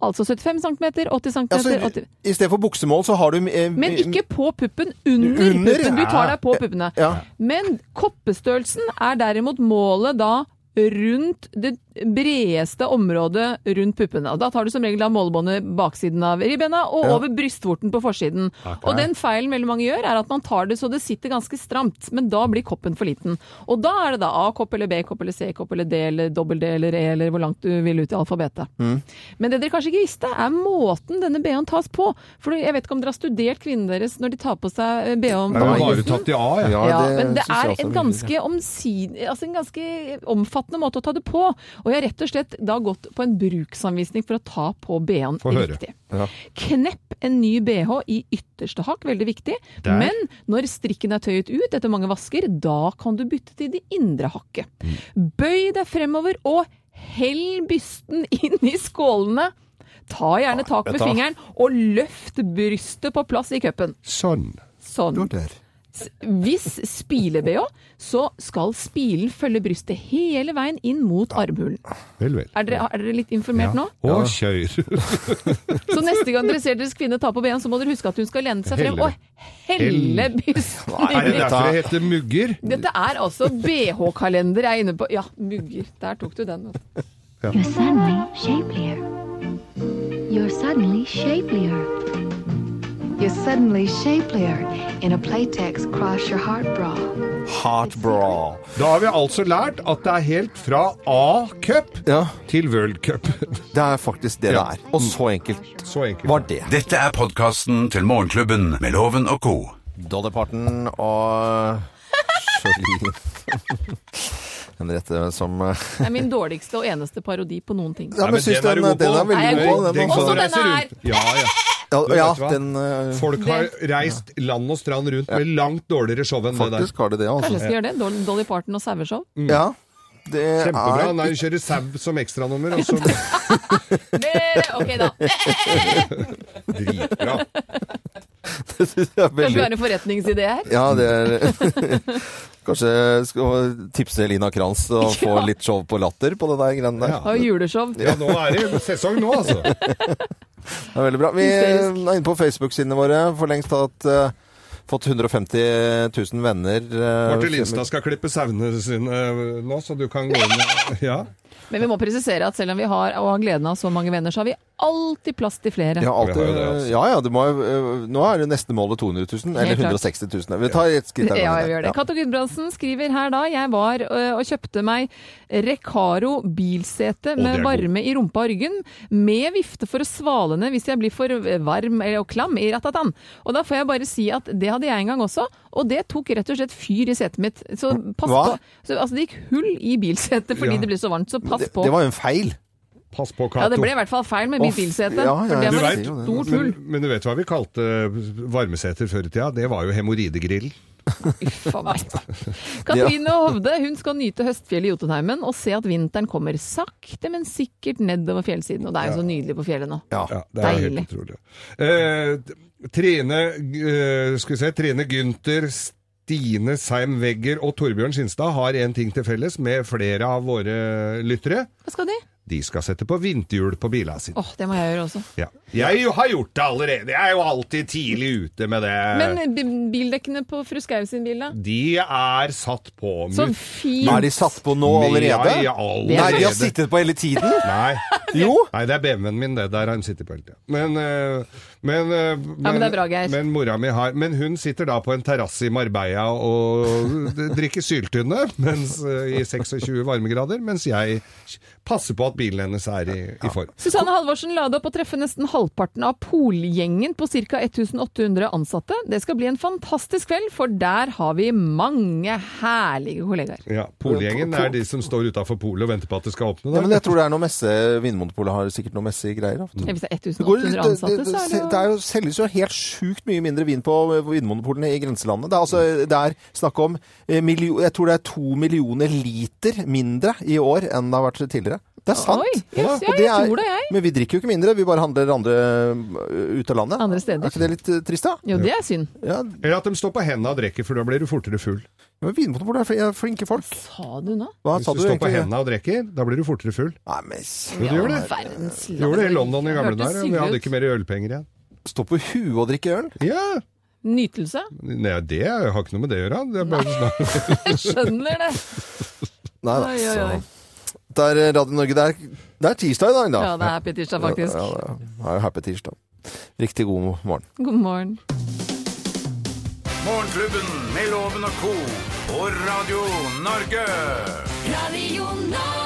Speaker 5: Altså 75 cm, 80 cm
Speaker 3: Ja, så i-
Speaker 5: 80...
Speaker 3: altså, I stedet for buksemål, så har du eh,
Speaker 5: Men ikke på puppen, under,
Speaker 3: Under, ja.
Speaker 5: puppen. Du tar deg på puppene.
Speaker 3: Ja.
Speaker 5: Men koppestørrelsen er derimot målet da rundt det bredeste området rundt puppene. Og da tar du som regel da målebåndet baksiden av ribbena og
Speaker 13: Ja.
Speaker 5: over brystvorten på forsiden.
Speaker 13: Ok.
Speaker 5: Og den feilen veldig mange gjør, er at man tar det så det sitter ganske stramt, men da blir koppen for liten. Og da er det da A-kopp eller B-kopp eller C-kopp eller D eller dobbel D eller E eller hvor langt du vil ut i alfabetet.
Speaker 1: Mm.
Speaker 5: Men det dere kanskje ikke visste, er måten denne BH-en tas på. For jeg vet ikke om dere har studert kvinnene deres når de tar på seg eh, BH-en.
Speaker 4: Jeg
Speaker 5: på
Speaker 4: har bare
Speaker 5: bristen.
Speaker 4: tatt i A, jeg.
Speaker 5: Ja, men det er et ganske omsid, altså en ganske omfattende måte å ta det på. Og jeg har rett og slett da gått på en bruksanvisning for å ta på BH-en
Speaker 1: Få høre.
Speaker 5: riktig. Knepp en ny bh i ytterste hakk, veldig viktig.
Speaker 1: Der.
Speaker 5: Men når strikken er tøyet ut etter mange vasker, da kan du bytte til det indre hakket.
Speaker 1: Mm.
Speaker 5: Bøy deg fremover og hell bysten inn i skålene. Ta gjerne tak med
Speaker 1: vet du hva?
Speaker 5: fingeren og løft brystet på plass i cupen.
Speaker 4: Sånn.
Speaker 5: Sånn. S- Hvis spile-bh, så skal spilen følge brystet hele veien inn mot armhulen.
Speaker 4: Vel, vel.
Speaker 5: Er dere, er dere litt informert nå?
Speaker 4: Å, kjør.
Speaker 5: Så neste gang dere ser deres kvinne ta på ben, så må dere huske at hun skal lene seg frem
Speaker 4: Helle.
Speaker 5: og helle bysten
Speaker 4: Er det
Speaker 5: inn i-
Speaker 4: derfor det heter mugger?
Speaker 5: Dette er altså BH-kalender jeg er inne på. Ja, mugger. Der tok du den. altså. vet du.
Speaker 16: You're suddenly shapelier. You're suddenly shapelier. You're suddenly shapelier in a Playtex cross your heart bra.
Speaker 3: Heart bra.
Speaker 4: Da har vi altså lært at det er helt fra A-cup til World Cup.
Speaker 3: Det er faktisk det det er. Og så enkelt, var det.
Speaker 2: Dette er podkasten til Morgenklubben med Loven og co.
Speaker 3: Dolly Parton og Jolene. Henriette som eh,
Speaker 5: Det er min dårligste og eneste parodi på noen ting.
Speaker 3: Ja, men syns den, den, er
Speaker 5: Nei, jeg
Speaker 3: veldig god.
Speaker 5: Den
Speaker 3: også.
Speaker 5: Også den her!
Speaker 4: Ja, ja.
Speaker 3: Ja,
Speaker 4: Men
Speaker 3: ja,
Speaker 4: vet du hva?
Speaker 3: den, eh,
Speaker 4: Folk har reist land og strand rundt med langt dårligere show enn det der.
Speaker 3: Faktisk har de det, altså.
Speaker 5: Kanskje jeg skal gjøre det? Dol- Dolly Parton og saueshow?
Speaker 4: Mm.
Speaker 3: Ja, det
Speaker 4: Kjempebra.
Speaker 3: er-
Speaker 4: Nei, hun kjører sau som ekstranummer, og så
Speaker 5: Eh, Ok, da.
Speaker 4: Dritbra.
Speaker 3: Det syns jeg er
Speaker 5: Kanskje vi
Speaker 3: veldig
Speaker 5: har en forretningsidé her?
Speaker 3: Ja, det er Kanskje jeg skal tipse Lina Kranz og få
Speaker 5: Ja.
Speaker 3: litt show på latter på det der greiene der.
Speaker 5: Har jo juleshow.
Speaker 4: Ja, nå er det sesong nå, altså.
Speaker 3: Det er veldig bra. Vi er
Speaker 4: Hysterisk.
Speaker 3: inne på Facebook-sidene våre. For lengst hatt eh, fått 150 000 venner. eh,
Speaker 4: Martin Lindstad skal klippe sauene sine eh, nå, så du kan gå inn Ja.
Speaker 5: Men vi må presisere at selv om vi har og har gleden av så mange venner, så har vi alltid plass til flere.
Speaker 3: Ja, alltid,
Speaker 4: Vi har jo det, altså.
Speaker 3: ja, ja det må, jo, eh, nå er det neste målet 200 000, eller
Speaker 5: Helt klart.
Speaker 3: 160 000. Vi tar et skritt av
Speaker 5: Ja,
Speaker 3: gangen
Speaker 5: vi
Speaker 3: her.
Speaker 5: gjør det. Cato Gudbrandsen skriver her da Jeg var ø, og kjøpte meg Recaro bilsete
Speaker 1: Å, det
Speaker 5: med
Speaker 1: er
Speaker 5: varme i rumpa og ryggen, med vifte for å svale ned hvis jeg blir for varm eller- og klam i ratatan. Og da får jeg bare si at det hadde jeg en gang også, og det tok rett og slett fyr i setet mitt. Så pass
Speaker 3: Hva?
Speaker 5: på. Så, altså, det gikk hull i bilsetet fordi
Speaker 3: Ja.
Speaker 5: det ble så varmt, så pass
Speaker 3: Det,
Speaker 5: på.
Speaker 3: det var jo en feil.
Speaker 4: Pass på,
Speaker 5: ja, det ble i hvert fall feil med
Speaker 3: Å,
Speaker 5: mitt bilsete.
Speaker 3: ja, ja,
Speaker 5: for det
Speaker 4: Du
Speaker 5: var
Speaker 4: vet-
Speaker 5: et stort
Speaker 4: men,
Speaker 5: hull.
Speaker 4: men du vet hva vi kalte varmeseter før i tida? Det var jo hemoroidegrill.
Speaker 5: Uff a meg. Katrine Hovde hun skal nyte høstfjellet i Jotunheimen og se at vinteren kommer sakte, men sikkert nedover fjellsiden. Og det er jo så nydelig på fjellet nå.
Speaker 4: Ja, det er jo
Speaker 5: Deilig.
Speaker 4: helt utrolig. Eh, Trine, eh, skal vi se, Trine Gunther, Stine Seim Wegger og Torbjørn Skinstad har en ting til felles med flere av våre lyttere.
Speaker 5: Hva skal de?
Speaker 4: De skal sette på vinterhjul på bilene sine.
Speaker 5: Åh, det må jeg gjøre også.
Speaker 4: Ja. Jeg har gjort det allerede. Jeg er jo alltid tidlig ute med det.
Speaker 3: Eh.
Speaker 5: Men b- bildekkene på fru Skau sin bil, da?
Speaker 4: de er satt på.
Speaker 5: Så
Speaker 4: Mut-
Speaker 5: fint. Er de
Speaker 3: satt på nå allerede?
Speaker 4: Ja, ja, allerede.
Speaker 3: Nei, de har sittet på hele tiden.
Speaker 4: Nei. Nei, det er BMW-en min, det. Der har de sittet på hele tiden. Men, eh, men, eh,
Speaker 5: men det er bra, Geir.
Speaker 4: men mora mi har Men hun sitter da på en terrasse i Marbella og d- drikker syltynne mens, eh, i 26 varmegrader, mens jeg passer på at bilen hennes er i, i form.
Speaker 5: Susanne Halvorsen la det opp å treffe nesten halvparten av Polgjengen på ca. 1800 ansatte. Det skal bli en fantastisk kveld, for der har vi mange herlige kollegaer.
Speaker 4: Ja, Polgjengen er de som står utafor polet og venter på at det skal åpne.
Speaker 3: Ja,
Speaker 4: da.
Speaker 3: men jeg tror det er noe messe Vinmonopolet har sikkert noe messe greier. da.
Speaker 5: Ja, Hvis det er
Speaker 3: Det, går, litt- eh,
Speaker 5: 1800
Speaker 3: det,
Speaker 5: ansatte,
Speaker 3: det,
Speaker 5: så er det
Speaker 3: det,
Speaker 5: jo
Speaker 3: er jo selges jo helt sjukt mye mindre vin på vinmonopolene i grenselandet. Det er, altså, det er snakk om eh, miljo- Jeg tror det er to millioner liter mindre i år enn det har vært tidligere. Det er sant.
Speaker 5: Oi,
Speaker 3: Ja,
Speaker 5: jøss, ja,
Speaker 3: og det
Speaker 5: jeg
Speaker 3: er-
Speaker 5: tror det, jeg.
Speaker 3: Men vi drikker jo ikke mindre, vi bare handler andre ø, ut av landet. Andre
Speaker 5: steder.
Speaker 3: Er ikke det litt eh, trist, da?
Speaker 5: Jo, det er synd.
Speaker 4: Eller at de står på hendene og drikker, for da blir du fortere full.
Speaker 3: Men Vinmonopolet er fl- er flinke folk.
Speaker 5: Sa du nå?
Speaker 3: Hva
Speaker 4: Hvis
Speaker 3: sa du
Speaker 4: du, står på
Speaker 3: egentlig?
Speaker 4: hendene og drikker, da blir du fortere full.
Speaker 3: Nei, men
Speaker 4: Jo, du gjør det.
Speaker 5: verdens
Speaker 4: Du gjorde det i London i gamle
Speaker 5: Hørtes
Speaker 4: dager.
Speaker 5: sykt
Speaker 4: Vi hadde
Speaker 5: ut.
Speaker 4: ikke mer ølpenger igjen.
Speaker 3: Stå på huet og drikke øl?
Speaker 4: Ja!
Speaker 5: Nytelse.
Speaker 4: Nei, det har ikke noe med det å gjøre. Det er bare snakk.
Speaker 5: Jeg skjønner det.
Speaker 3: Nei da,
Speaker 5: Oi, oi, oi.
Speaker 3: så Det er eh, Radio Norge. Det er, det er tirsdag i dag, da.
Speaker 5: Ja, det er happy tirsdag, faktisk.
Speaker 3: Ja, ja, det er happy tirsdag. Riktig god morgen.
Speaker 5: God morgen.
Speaker 2: Morgenklubben med Loven og co. på Radio Norge.
Speaker 1: Radio Norge.